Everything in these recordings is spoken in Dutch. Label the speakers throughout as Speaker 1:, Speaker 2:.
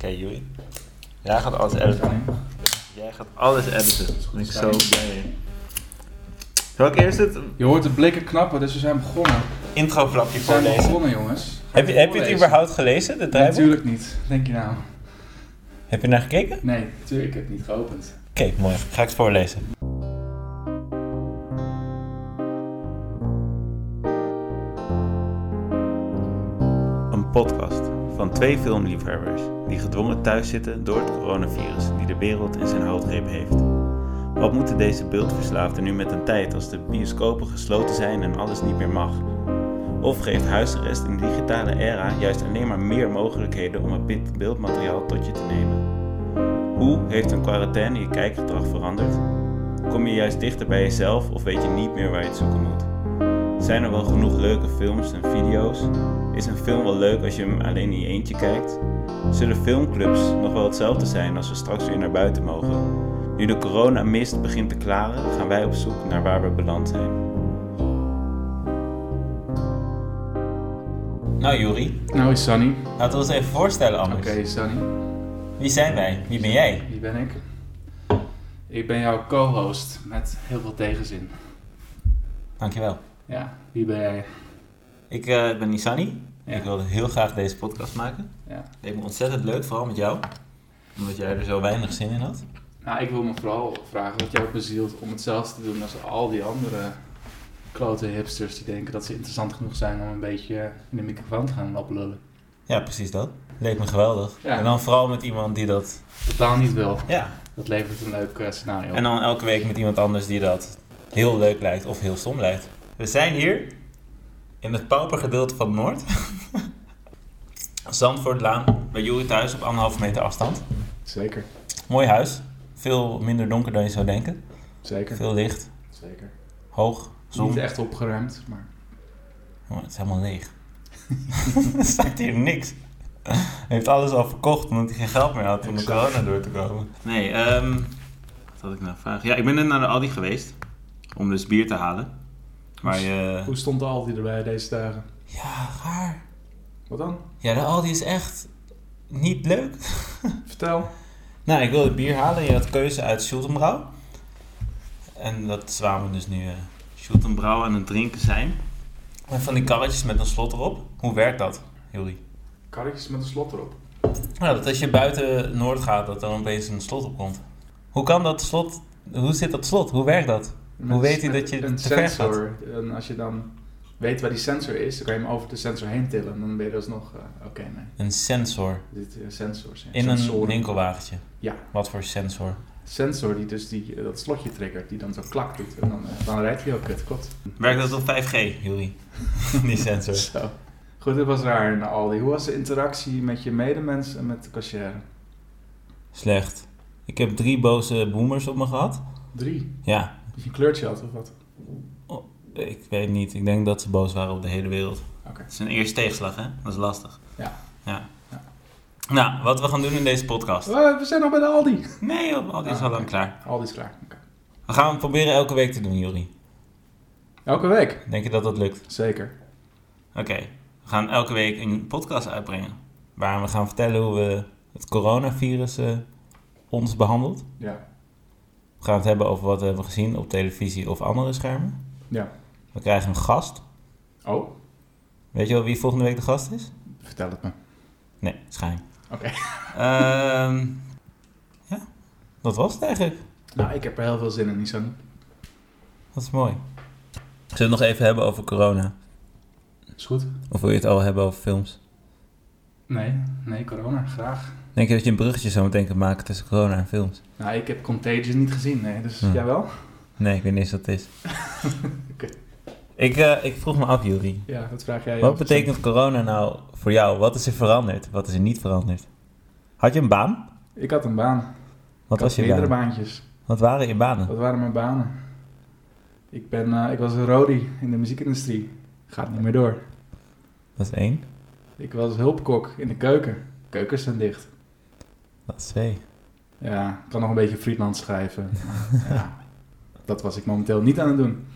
Speaker 1: Joey. Jij gaat alles editen. Jij gaat alles editen. Daar ben ik zo blij mee. Zal ik eerst het
Speaker 2: Je hoort de blikken knappen, dus we zijn begonnen.
Speaker 1: introflapje
Speaker 2: We zijn
Speaker 1: voorlezen?
Speaker 2: begonnen, jongens.
Speaker 1: Heb je, heb je het
Speaker 2: Voorlezen.
Speaker 1: überhaupt gelezen, de draaiboek?
Speaker 2: Natuurlijk niet. Denk je nou?
Speaker 1: Heb je naar gekeken? Oké,
Speaker 2: Nee, natuurlijk. Ik heb het niet geopend.
Speaker 1: mooi. Ga ik het voorlezen. Een podcast van twee filmliefhebbers die gedwongen thuis zitten door het coronavirus die de wereld in zijn houtgreep heeft. Wat moeten deze beeldverslaafden nu met een tijd als de bioscopen gesloten zijn en alles niet meer mag? Of geeft huisarrest in de digitale era juist alleen maar meer mogelijkheden om het bit- beeldmateriaal tot je te nemen? Hoe heeft een quarantaine je kijkgedrag veranderd? Kom je juist dichter bij jezelf of weet je niet meer waar je het zoeken moet? Zijn er wel genoeg leuke films en video's? Is een film wel leuk als je hem alleen in je eentje kijkt? Zullen filmclubs nog wel hetzelfde zijn als we straks weer naar buiten mogen? Nu de coronamist begint te klaren, gaan wij op zoek naar waar we beland zijn. Nou Juri,
Speaker 2: Nou is Sunny.
Speaker 1: laten we ons even voorstellen
Speaker 2: Oké, Sunny.
Speaker 1: Wie zijn wij? Wie ben jij?
Speaker 2: Wie ben ik? Ik ben jouw co-host met heel veel tegenzin.
Speaker 1: Dankjewel.
Speaker 2: Ja, wie ben jij?
Speaker 1: Ik eh, ben Nisani.
Speaker 2: Ja.
Speaker 1: Ik wilde heel graag deze podcast maken.
Speaker 2: Ja.
Speaker 1: Het leek me ontzettend leuk, vooral met jou. Omdat jij er zo weinig zin in had.
Speaker 2: Nou, ik wil me vooral vragen wat jou bezielt om hetzelfde te doen als al die andere klote hipsters die denken dat ze interessant genoeg zijn om een beetje in de microfoon te gaan oplullen.
Speaker 1: Ja, precies dat. Leek me geweldig.
Speaker 2: Ja.
Speaker 1: En dan vooral met iemand die dat...
Speaker 2: Totaal niet wel.
Speaker 1: Ja.
Speaker 2: Dat levert een leuk eh, scenario op.
Speaker 1: En dan elke week met iemand anders die dat heel leuk lijkt of heel stom lijkt. We zijn hier in het paupergedeelte van Noord. Zandvoortlaan, bij Joeri thuis op anderhalve meter afstand.
Speaker 2: Zeker,
Speaker 1: Mooi huis. Veel minder donker dan je zou denken.
Speaker 2: zeker,
Speaker 1: Veel licht,
Speaker 2: zeker.
Speaker 1: hoog, zon.
Speaker 2: Niet echt opgeruimd, maar
Speaker 1: Oh, het is helemaal leeg. er staat hier niks. Hij heeft alles al verkocht omdat hij geen geld meer had om de
Speaker 2: Exact.
Speaker 1: corona door te komen. Nee, ehm, wat had ik nou vraag? Ja, ik ben net naar de Aldi geweest om dus bier te halen. Maar eh, je...
Speaker 2: Hoe stond de Aldi erbij deze dagen?
Speaker 1: Ja, raar.
Speaker 2: Wat dan?
Speaker 1: Ja, de Aldi is echt niet leuk.
Speaker 2: Vertel.
Speaker 1: Nou, ik wilde bier halen. Je had keuze uit Schultenbrouw. En dat is waar we dus nu eh Schultenbrouw aan het drinken zijn. En van die karretjes met een slot erop. Hoe werkt dat, Juri?
Speaker 2: Karretjes met een slot erop.
Speaker 1: Nou, dat als je buiten Noord gaat, dat er dan opeens een slot opkomt. Hoe kan dat slot, hoe zit dat slot? Hoe werkt dat? Hoe weet hij dat je
Speaker 2: Een
Speaker 1: te ver gaat?
Speaker 2: sensor. En als je dan weet waar die sensor is, dan kan je hem over de sensor heen tillen. En dan ben je alsnog, eh, oké, nee,
Speaker 1: Een sensor
Speaker 2: dit is sensors. ja.
Speaker 1: in een
Speaker 2: Sensoren.
Speaker 1: winkelwagentje.
Speaker 2: Ja.
Speaker 1: Wat voor sensor?
Speaker 2: Sensor die dus die, eh, dat slotje triggert, die dan zo klak doet. En dan, eh, dan rijdt hij ook, het klopt.
Speaker 1: Werkt dat op 5G, Juri? Die sensor.
Speaker 2: Zo. Goed, dit was raar in de Aldi. Hoe was de interactie met je medemens en met de cashier?
Speaker 1: Slecht. Ik heb drie boze boomers op me gehad.
Speaker 2: Drie.
Speaker 1: Ja,
Speaker 2: Dat je een kleurtje had of wat?
Speaker 1: ik weet niet. Ik denk dat ze boos waren op de hele wereld.
Speaker 2: Oké.
Speaker 1: Het is een eerste tegenslag, hè? Dat is lastig.
Speaker 2: Ja.
Speaker 1: ja.
Speaker 2: Ja.
Speaker 1: Nou, wat we gaan doen in deze podcast.
Speaker 2: Oh, we zijn nog bij de Aldi.
Speaker 1: Nee, joh, Aldi is
Speaker 2: Ah,
Speaker 1: al lang
Speaker 2: oké.
Speaker 1: klaar.
Speaker 2: Aldi is klaar. Oké.
Speaker 1: We gaan het proberen elke week te doen, Juri.
Speaker 2: Elke week.
Speaker 1: Denk je dat dat lukt?
Speaker 2: Zeker.
Speaker 1: Oké, we gaan elke week een podcast uitbrengen. Waar we gaan vertellen hoe we het coronavirus eh, ons behandelt.
Speaker 2: Ja.
Speaker 1: We gaan het hebben over wat we hebben gezien op televisie of andere schermen.
Speaker 2: Ja.
Speaker 1: We krijgen een gast.
Speaker 2: Oh,
Speaker 1: Weet je wel wie volgende week de gast is?
Speaker 2: vertel het me.
Speaker 1: Nee, het is geheim.
Speaker 2: Oké.
Speaker 1: Ehm, ja, dat was het eigenlijk.
Speaker 2: Nou, ik heb er heel veel zin in, Nissan.
Speaker 1: Dat is mooi. Zullen we het nog even hebben over corona?
Speaker 2: Is goed.
Speaker 1: Of wil je het al hebben over films?
Speaker 2: Nee, nee, corona, graag.
Speaker 1: Denk je dat je een bruggetje zo meteen kunt maken tussen corona en films?
Speaker 2: Nou, ik heb Contagion niet gezien, nee, dus
Speaker 1: Hm.
Speaker 2: jij wel?
Speaker 1: Nee, ik weet niet eens wat het is.
Speaker 2: Oké.
Speaker 1: ik, eh, ik vroeg me af, Juri.
Speaker 2: Ja, dat vraag jij.
Speaker 1: Wat betekent corona nou voor jou? Wat is er veranderd? Wat is er niet veranderd? Had je een baan?
Speaker 2: Ik had een baan.
Speaker 1: Wat
Speaker 2: ik had
Speaker 1: was je baan?
Speaker 2: meerdere baantjes.
Speaker 1: Wat waren je banen?
Speaker 2: Wat waren mijn banen? Ik, ben, eh, ik was een rody in de muziekindustrie. Gaat niet meer door.
Speaker 1: Dat is één.
Speaker 2: Ik was hulpkok in de keuken. Keukens zijn dicht.
Speaker 1: Dat is twee.
Speaker 2: Ja, ik kan nog een beetje freelance schrijven. Maar ja, dat was ik momenteel niet aan het doen.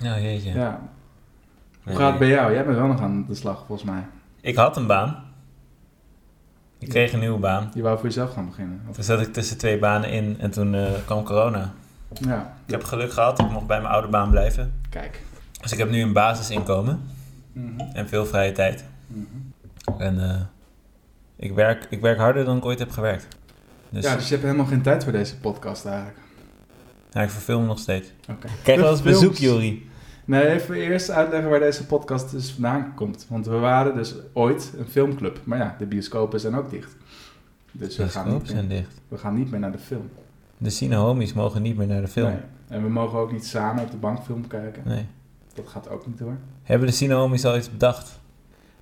Speaker 1: Nou, jeetje.
Speaker 2: Ja. Hoe gaat het bij jou? Jij bent wel nog aan de slag, volgens mij.
Speaker 1: Ik had een baan. Ik kreeg een nieuwe baan.
Speaker 2: Je wou voor jezelf gaan beginnen. Of-
Speaker 1: Toen zat ik tussen twee banen in en toen eh, kwam corona.
Speaker 2: Ja,
Speaker 1: Ik heb geluk gehad, ik mocht bij mijn oude baan blijven.
Speaker 2: kijk.
Speaker 1: Dus ik heb nu een basisinkomen
Speaker 2: Mhm,
Speaker 1: en veel vrije tijd.
Speaker 2: mhm.
Speaker 1: En eh, ik, werk, ik werk harder dan ik ooit heb gewerkt. Dus
Speaker 2: Ja, dus je hebt helemaal geen tijd voor deze podcast eigenlijk.
Speaker 1: ja, ik verfilm nog steeds. Ik
Speaker 2: Oké.
Speaker 1: Krijg wel eens
Speaker 2: Films.
Speaker 1: bezoek, Jori.
Speaker 2: Nee, even eerst uitleggen waar deze podcast dus vandaan komt. Want we waren dus ooit een filmclub. Maar ja, de bioscopen zijn ook dicht. Dus we gaan,
Speaker 1: De
Speaker 2: niet meer,
Speaker 1: zijn dicht.
Speaker 2: we gaan niet meer naar de film.
Speaker 1: De Sino-homies mogen niet meer naar de film.
Speaker 2: Nee. En we mogen ook niet samen op de bank film kijken.
Speaker 1: Nee.
Speaker 2: Dat gaat ook niet door.
Speaker 1: Hebben de Sino-homies al iets bedacht?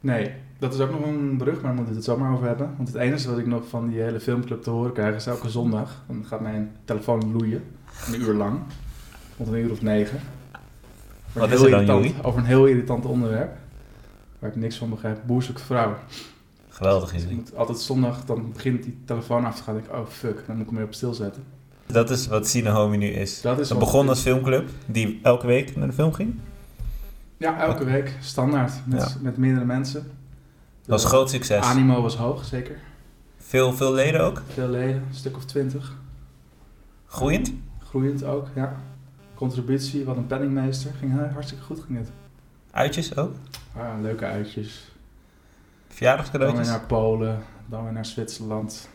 Speaker 2: Nee, dat is ook nog een brug, maar daar moeten we het zomaar over hebben. Want het enige wat ik nog van die hele filmclub te horen krijg is elke zondag. Dan gaat mijn telefoon loeien. Een uur lang. Tot een uur of negen. Over
Speaker 1: Wat
Speaker 2: een
Speaker 1: is
Speaker 2: heel
Speaker 1: er dan,
Speaker 2: irritant-
Speaker 1: Joey?
Speaker 2: Over een heel irritant onderwerp. Waar ik niks van begrijp. Boerzoek vrouw.
Speaker 1: Geweldig is
Speaker 2: Dus ik
Speaker 1: het.
Speaker 2: moet altijd zondag, dan begint die telefoon af te gaan. Dan denk ik, oh fuck, dan moet ik hem weer op stil zetten.
Speaker 1: Dat is wat Sino-homie nu is.
Speaker 2: Dat is
Speaker 1: Dat
Speaker 2: wat-
Speaker 1: begon als filmclub, die elke week naar de film ging.
Speaker 2: Ja, elke week. Standaard. Met, met meerdere mensen.
Speaker 1: Dat was een groot succes.
Speaker 2: Animo was hoog, zeker.
Speaker 1: Veel, veel leden ook.
Speaker 2: Veel leden, een stuk of twintig.
Speaker 1: Groeiend.
Speaker 2: Groeiend ook, ja. Contributie, wat een penningmeester. Ging heel- hartstikke goed, ging het.
Speaker 1: Uitjes ook.
Speaker 2: Ah, leuke uitjes. Dan weer
Speaker 1: Verjaardagscadeautjes.
Speaker 2: naar Polen, dan weer naar Zwitserland.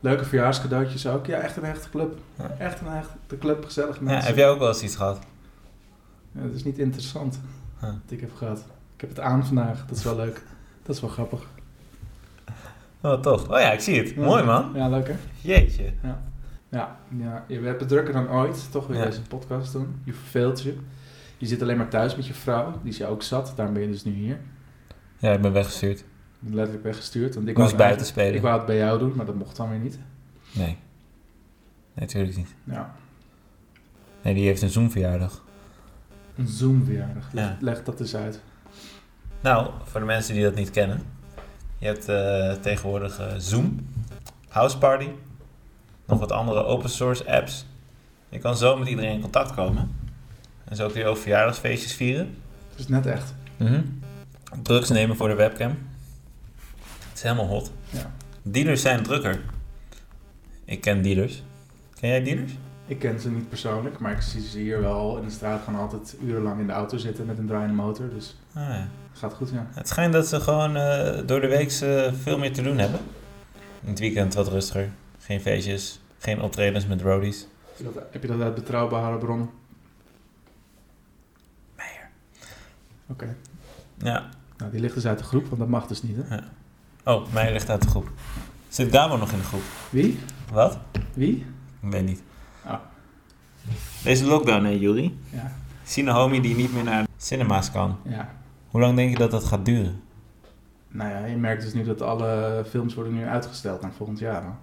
Speaker 2: Leuke verjaarscadeautjes ook. Ja, echt een echte club.
Speaker 1: Ja.
Speaker 2: Echt een echte club, gezellig
Speaker 1: Ja,
Speaker 2: mensen.
Speaker 1: heb jij ook wel eens iets gehad?
Speaker 2: Ja, dat is niet interessant
Speaker 1: Huh.
Speaker 2: wat ik heb gehad. Ik heb het aan vandaag, dat is wel leuk. Dat is wel grappig.
Speaker 1: Oh, toch? Oh ja, ik zie het.
Speaker 2: Ja.
Speaker 1: Mooi, man.
Speaker 2: Ja, leuk hè?
Speaker 1: Jeetje.
Speaker 2: Ja, ja, je hebt het drukker dan ooit, toch weer
Speaker 1: Ja.
Speaker 2: deze podcast doen. Je verveelt je. Je zit alleen maar thuis met je vrouw, die is je ook zat. Daarom ben je dus nu hier.
Speaker 1: Ja, ik ben weggestuurd.
Speaker 2: Ik ben letterlijk weggestuurd. Want ik
Speaker 1: Ik moest
Speaker 2: wou
Speaker 1: buiten
Speaker 2: eigenlijk-
Speaker 1: spelen.
Speaker 2: Ik wou het bij jou doen, maar dat mocht dan weer niet.
Speaker 1: Nee. Nee, natuurlijk niet.
Speaker 2: Ja.
Speaker 1: Nee, die heeft een Zoom-verjaardag.
Speaker 2: Een Zoom-verjaardag. Leg,
Speaker 1: Ja.
Speaker 2: leg dat eens uit.
Speaker 1: Nou, voor de mensen die dat niet kennen. Je hebt eh, tegenwoordig eh, Zoom, Houseparty, nog wat andere open source apps. Je kan zo met iedereen in contact komen. En zo kun je ook verjaardagsfeestjes vieren.
Speaker 2: Het is net echt.
Speaker 1: Mhm. Drugs nemen voor de webcam. Het is helemaal hot.
Speaker 2: Ja.
Speaker 1: Dealers zijn drukker. Ik ken dealers. Ken jij dealers?
Speaker 2: Ik ken ze niet persoonlijk, maar ik zie ze hier wel in de straat gaan altijd urenlang in de auto zitten met een draaiende motor. Dus
Speaker 1: Ah, ja.
Speaker 2: het gaat goed, ja.
Speaker 1: Het schijnt dat ze gewoon eh, door de week eh, veel meer te doen hebben. In het weekend wat rustiger. Geen feestjes, geen optredens met roadies.
Speaker 2: Heb je dat, heb je dat uit betrouwbare bron? Meijer. Oké.
Speaker 1: Ja.
Speaker 2: Nou, die ligt dus uit de groep, want dat mag dus niet, hè?
Speaker 1: Oh, mij ligt uit de groep. Zit Damo nog in de groep?
Speaker 2: Wie?
Speaker 1: Wat?
Speaker 2: Wie?
Speaker 1: Ik weet niet.
Speaker 2: Ah.
Speaker 1: Deze lockdown, hè, Juri?
Speaker 2: Ja.
Speaker 1: Zien een homie die niet meer naar cinema's kan.
Speaker 2: Ja.
Speaker 1: Hoe lang denk je dat dat gaat duren?
Speaker 2: Nou ja, je merkt dus nu dat alle films worden nu uitgesteld naar volgend jaar. Hoor.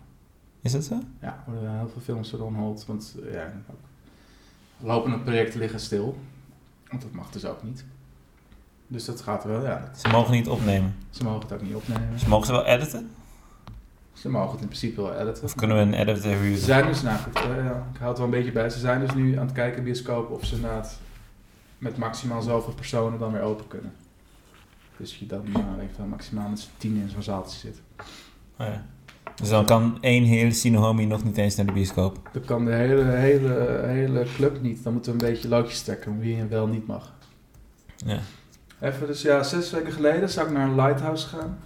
Speaker 1: Is dat zo?
Speaker 2: Ja, er worden heel veel films er on hold, want eh, ja, ook lopende projecten liggen stil. Want dat mag dus ook niet. Dus dat gaat wel, ja.
Speaker 1: Ze mogen niet opnemen.
Speaker 2: Ze mogen het ook niet opnemen.
Speaker 1: Ze mogen ze wel editen?
Speaker 2: Ze mogen het in principe wel editen.
Speaker 1: Of kunnen we een editor
Speaker 2: Ze
Speaker 1: huren?
Speaker 2: zijn dus, nou goed, eh, ja, ik hou het wel een beetje bij. Ze zijn dus nu aan het kijken in bioscoop of ze inderdaad met maximaal zoveel personen dan weer open kunnen. Dus je dan eh, eventueel maximaal met z'n tien in zo'n zaaltje zit.
Speaker 1: Oh, ja. Dus dan kan één hele Sinohomie nog niet eens naar de bioscoop.
Speaker 2: Dan kan de hele, hele, hele club niet. Dan moeten we een beetje loodjes trekken om wie en wel niet mag.
Speaker 1: Ja.
Speaker 2: Even, dus ja, zes weken geleden zou ik naar een lighthouse gaan.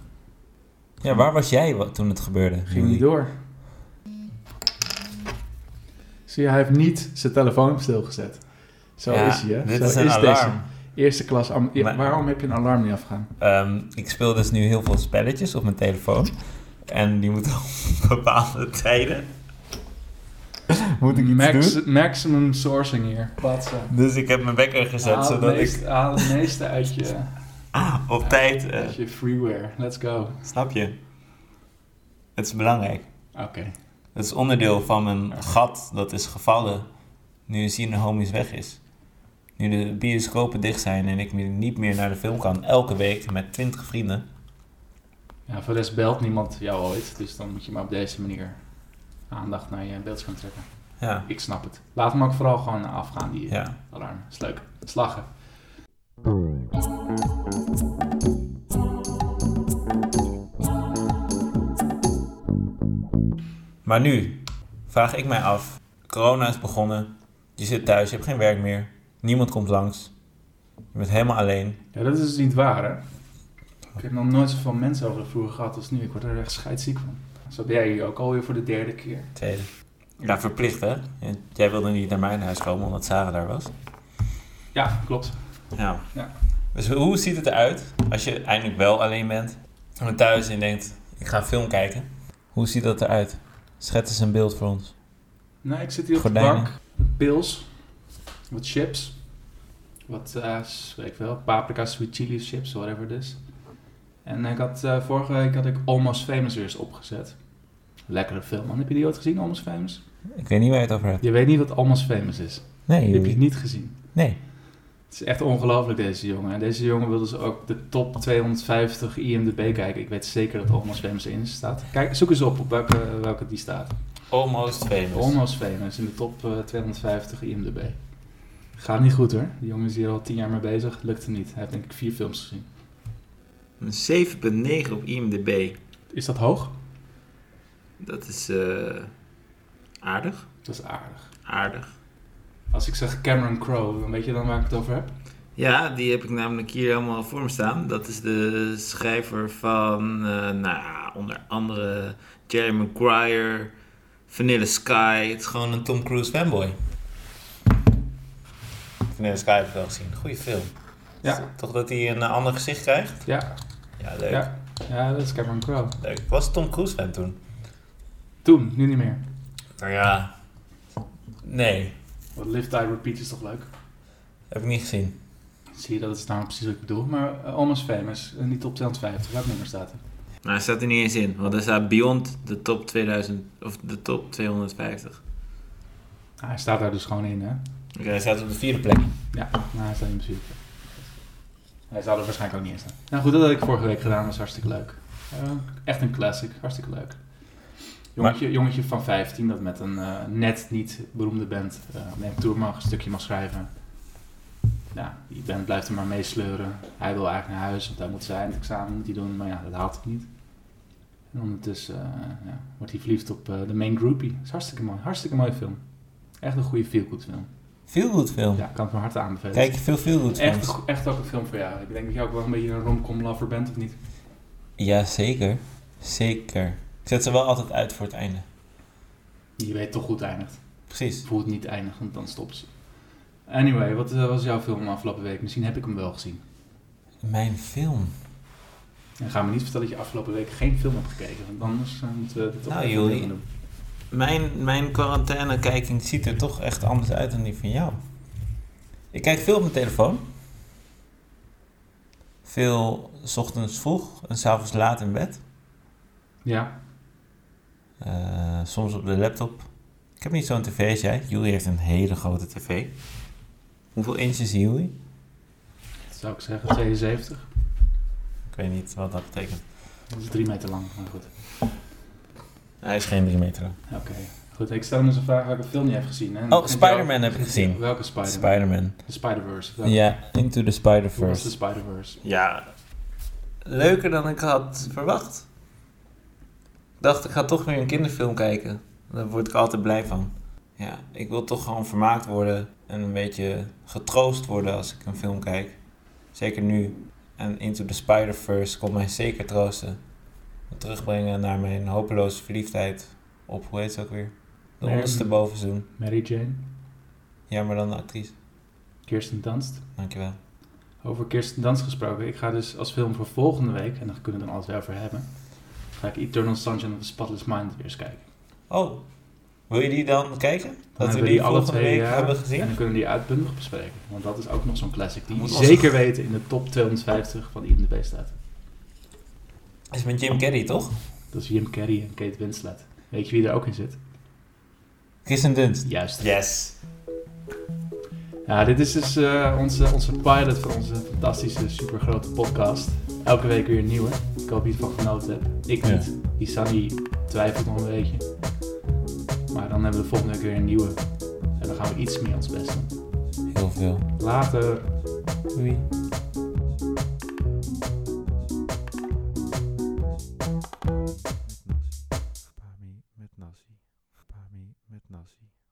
Speaker 1: ja, waar was jij wa- toen het gebeurde?
Speaker 2: Ging niet door. Zie je, hij heeft niet zijn telefoon op stilgezet. Zo
Speaker 1: Ja,
Speaker 2: is hij, hè?
Speaker 1: Dit
Speaker 2: Zo
Speaker 1: is een alarm.
Speaker 2: deze. Eerste klas. am- ja,
Speaker 1: Maar-
Speaker 2: waarom heb je een alarm niet afgaan?
Speaker 1: Ehm, ik speel dus nu heel veel spelletjes op mijn telefoon. En die moeten op bepaalde tijden. Moet ik iets
Speaker 2: Max-
Speaker 1: doen?
Speaker 2: Maximum sourcing hier. Patsen.
Speaker 1: Dus ik heb mijn wekker gezet,
Speaker 2: Haal het
Speaker 1: zodat ik
Speaker 2: meest- haal het meeste uit je,
Speaker 1: op tijd... eh,
Speaker 2: uit je freeware. Let's go.
Speaker 1: snap je? Het is belangrijk.
Speaker 2: Oké.
Speaker 1: Het is onderdeel van mijn gat dat is gevallen nu de homies weg is. Nu de bioscopen dicht zijn en ik niet meer naar de film kan, elke week met 20 vrienden.
Speaker 2: Ja, voor de rest belt niemand jou ooit. Dus dan moet je maar op deze manier aandacht naar je beeldscherm trekken.
Speaker 1: Ja,
Speaker 2: Ik snap het. Laat hem ook vooral gewoon afgaan, die
Speaker 1: ja.
Speaker 2: alarm. Is leuk. Slagen.
Speaker 1: Maar nu vraag ik mij af. Corona is begonnen. Je zit thuis, je hebt geen werk meer. Niemand komt langs. Je bent helemaal alleen.
Speaker 2: Ja, dat is dus niet waar, hè? Ik heb nog nooit zoveel mensen over de vloer gehad als nu. Ik word er echt scheidsziek van. Zo ben jij hier ook alweer voor de derde keer.
Speaker 1: Tweede. Ja, verplicht hè? Jij wilde niet naar mijn huis komen omdat Sarah daar was.
Speaker 2: Ja, klopt.
Speaker 1: Ja.
Speaker 2: Ja.
Speaker 1: Dus hoe ziet het eruit als je eindelijk wel alleen bent en bent thuis en je denkt, ik ga een film kijken. Hoe ziet dat eruit? Schets eens een beeld voor ons.
Speaker 2: Nou, ik zit hier op
Speaker 1: Gordijnen.
Speaker 2: de bank. Pils. Wat chips. Wat, eh, s- weet ik wel, paprika, sweet chili chips, whatever it is. En ik had, eh, vorige week had ik Almost Famous weer eens opgezet. Lekkere film, man. Heb je die ooit gezien, Almost Famous?
Speaker 1: Ik weet niet waar je het over hebt.
Speaker 2: Je weet niet wat Almost Famous is. Die heb je
Speaker 1: Nee,
Speaker 2: niet gezien.
Speaker 1: nee.
Speaker 2: Het is echt ongelooflijk, deze jongen. En deze jongen wilde ze ook de top 250 IMDb kijken. Ik weet zeker dat Almost Famous in staat. Kijk, zoek eens op op welke, welke die staat.
Speaker 1: Almost famous.
Speaker 2: Almost Famous in de top eh, 250 IMDb. Gaat niet goed hoor. Die jongen is hier al tien jaar mee bezig. Lukt hem niet. Hij heeft denk ik vier films gezien.
Speaker 1: Een 7.9 op IMDb.
Speaker 2: Is dat hoog?
Speaker 1: Dat is eh, aardig.
Speaker 2: Dat is aardig.
Speaker 1: Aardig.
Speaker 2: Als ik zeg Cameron Crowe, dan weet je dan waar ik het over heb?
Speaker 3: Ja, die heb ik namelijk hier helemaal voor me staan. Dat is de schrijver van, eh, nou ja, onder andere Jerry Maguire, Vanilla Sky. Het
Speaker 1: Het
Speaker 3: is
Speaker 1: is
Speaker 3: gewoon-
Speaker 1: gewoon een Tom Cruise fanboy. Nee, Sky heb ik wel gezien. Goeie film.
Speaker 2: Ja.
Speaker 1: Toch dat hij een eh, ander gezicht krijgt?
Speaker 2: Ja,
Speaker 1: Ja, leuk.
Speaker 2: Ja. ja dat is Cameron Crowe.
Speaker 1: leuk. Ik was Tom Cruise fan toen.
Speaker 2: Toen, nu niet meer.
Speaker 1: Nou ja. Nee,
Speaker 2: Want Live, Die, Repeat is toch leuk?
Speaker 1: heb ik niet gezien.
Speaker 2: Zie je, dat is nou precies wat ik bedoel. Maar eh, Almost Famous, eh, niet op 250, welk nummer staat er?
Speaker 3: Nou, hij staat er niet eens in, want hij staat beyond de top 2000, of de top 250.
Speaker 2: Ah, hij staat daar dus gewoon in, hè?
Speaker 1: Oké, hij staat op de vierde plek.
Speaker 2: Ja, nou, hij staat in principe. Hij zou er waarschijnlijk ook niet in staan. Nou goed, dat had ik vorige week gedaan, was hartstikke leuk. Eh, echt een classic, hartstikke leuk. Jongetje, jongetje van 15 dat met een eh, net niet beroemde band eh neemt tour mag, een stukje mag schrijven. Ja, die band blijft er maar meesleuren. Hij wil eigenlijk naar huis, want hij moet zijn eindexamen moet hij doen, maar ja, dat haalt hij niet. En ondertussen eh, ja, wordt hij verliefd op eh, de main groupie. Dat is hartstikke mooi, hartstikke mooie film. Echt een goede feel-good film.
Speaker 1: Veel goed film.
Speaker 2: Ja, ik kan het van harte aanbevelen.
Speaker 1: Kijk je veel veel goed
Speaker 2: Echt,
Speaker 1: films?
Speaker 2: go- echt ook een film voor jou. Ik denk dat jij ook wel een beetje een romcom lover bent, of niet?
Speaker 1: Ja, zeker. Zeker. Ik zet ze wel altijd uit voor het einde.
Speaker 2: Je weet toch hoe het eindigt.
Speaker 1: Precies.
Speaker 2: Hoe het niet eindigt, want dan stopt ze. Anyway, wat eh, was jouw film afgelopen week? Misschien heb ik hem wel gezien.
Speaker 1: Mijn film.
Speaker 2: En ga me niet vertellen dat je afgelopen week geen film hebt gekeken, want anders eh, moeten we dit toch
Speaker 1: Nou,
Speaker 2: even
Speaker 1: Joeri.
Speaker 2: opnieuw doen.
Speaker 1: Mijn, mijn quarantainekijking ziet er toch echt anders uit dan die van jou. Ik kijk veel op mijn telefoon. Veel 's ochtends vroeg en 's avonds laat in bed.
Speaker 2: Ja,
Speaker 1: Eh, soms op de laptop. Ik heb niet zo'n tv als jij. Jullie heeft een hele grote tv. Hoeveel inch is Jullie?
Speaker 2: dat zou ik zeggen, 72.
Speaker 1: Ik weet niet wat dat betekent.
Speaker 2: Dat is drie meter lang, maar goed.
Speaker 1: Hij is geen 3 meter lang.
Speaker 2: Oké, goed. Ik stel me eens een vraag welke film je hebt gezien. hè? En
Speaker 1: Oh,
Speaker 2: begint jou-
Speaker 1: Spider-Man heb ik gezien.
Speaker 2: Welke Spider-Man?
Speaker 1: Spider-Man.
Speaker 2: de Spider-Verse.
Speaker 1: Ja,
Speaker 2: Welke-
Speaker 1: Into the
Speaker 2: Hoe was de
Speaker 1: Spider-Verse.
Speaker 2: Spider-Verse?
Speaker 1: Ja, leuker dan ik had verwacht. Ik dacht, ik ga toch weer een kinderfilm kijken. Daar word ik altijd blij van. Ja, ik wil toch gewoon vermaakt worden en een beetje getroost worden als ik een film kijk. Zeker nu. En Into the Spider-Verse kon mij zeker troosten. Me Terugbrengen naar mijn hopeloze verliefdheid op, hoe heet ze ook weer? De
Speaker 2: Mary-
Speaker 1: onderste bovenzoen.
Speaker 2: Mary Jane,
Speaker 1: Ja, maar dan de actrice.
Speaker 2: Kirsten Dunst.
Speaker 1: Dankjewel.
Speaker 2: Over Kirsten Dans gesproken. Ik ga dus als film voor volgende week, en daar kunnen we het dan altijd weer over hebben, ga ik Eternal Sunshine of the Spotless Mind weer eens kijken.
Speaker 1: Oh, wil je die dan kijken?
Speaker 2: Dan
Speaker 1: Dat
Speaker 2: hebben
Speaker 1: we die
Speaker 2: alle
Speaker 1: volgende
Speaker 2: twee,
Speaker 1: week
Speaker 2: ja,
Speaker 1: hebben
Speaker 2: En
Speaker 1: gezien?
Speaker 2: dan kunnen we die uitbundig bespreken. Want dat is ook nog zo'n classic die
Speaker 1: Moet
Speaker 2: je
Speaker 1: ons-
Speaker 2: zeker weten in de top 250 van IMDb staat.
Speaker 1: Is met Jim Carrey, toch?
Speaker 2: Dat is Jim Carrey en Kate Winslet. Weet je wie er ook in zit?
Speaker 1: Kirsten Dunst.
Speaker 2: Juist.
Speaker 1: Yes.
Speaker 2: Ja, dit is dus eh, onze, onze pilot voor onze fantastische, supergrote podcast. Elke week weer een nieuwe. Ik hoop dat je ervan genoten hebt. Ik
Speaker 1: Ja.
Speaker 2: niet. Die Sunny twijfelt nog een beetje. Maar dan hebben we de volgende week weer een nieuwe. En dan gaan we iets meer ons best doen.
Speaker 1: Heel veel.
Speaker 2: Later.
Speaker 1: Doei.
Speaker 3: Met nasi.
Speaker 4: nazi.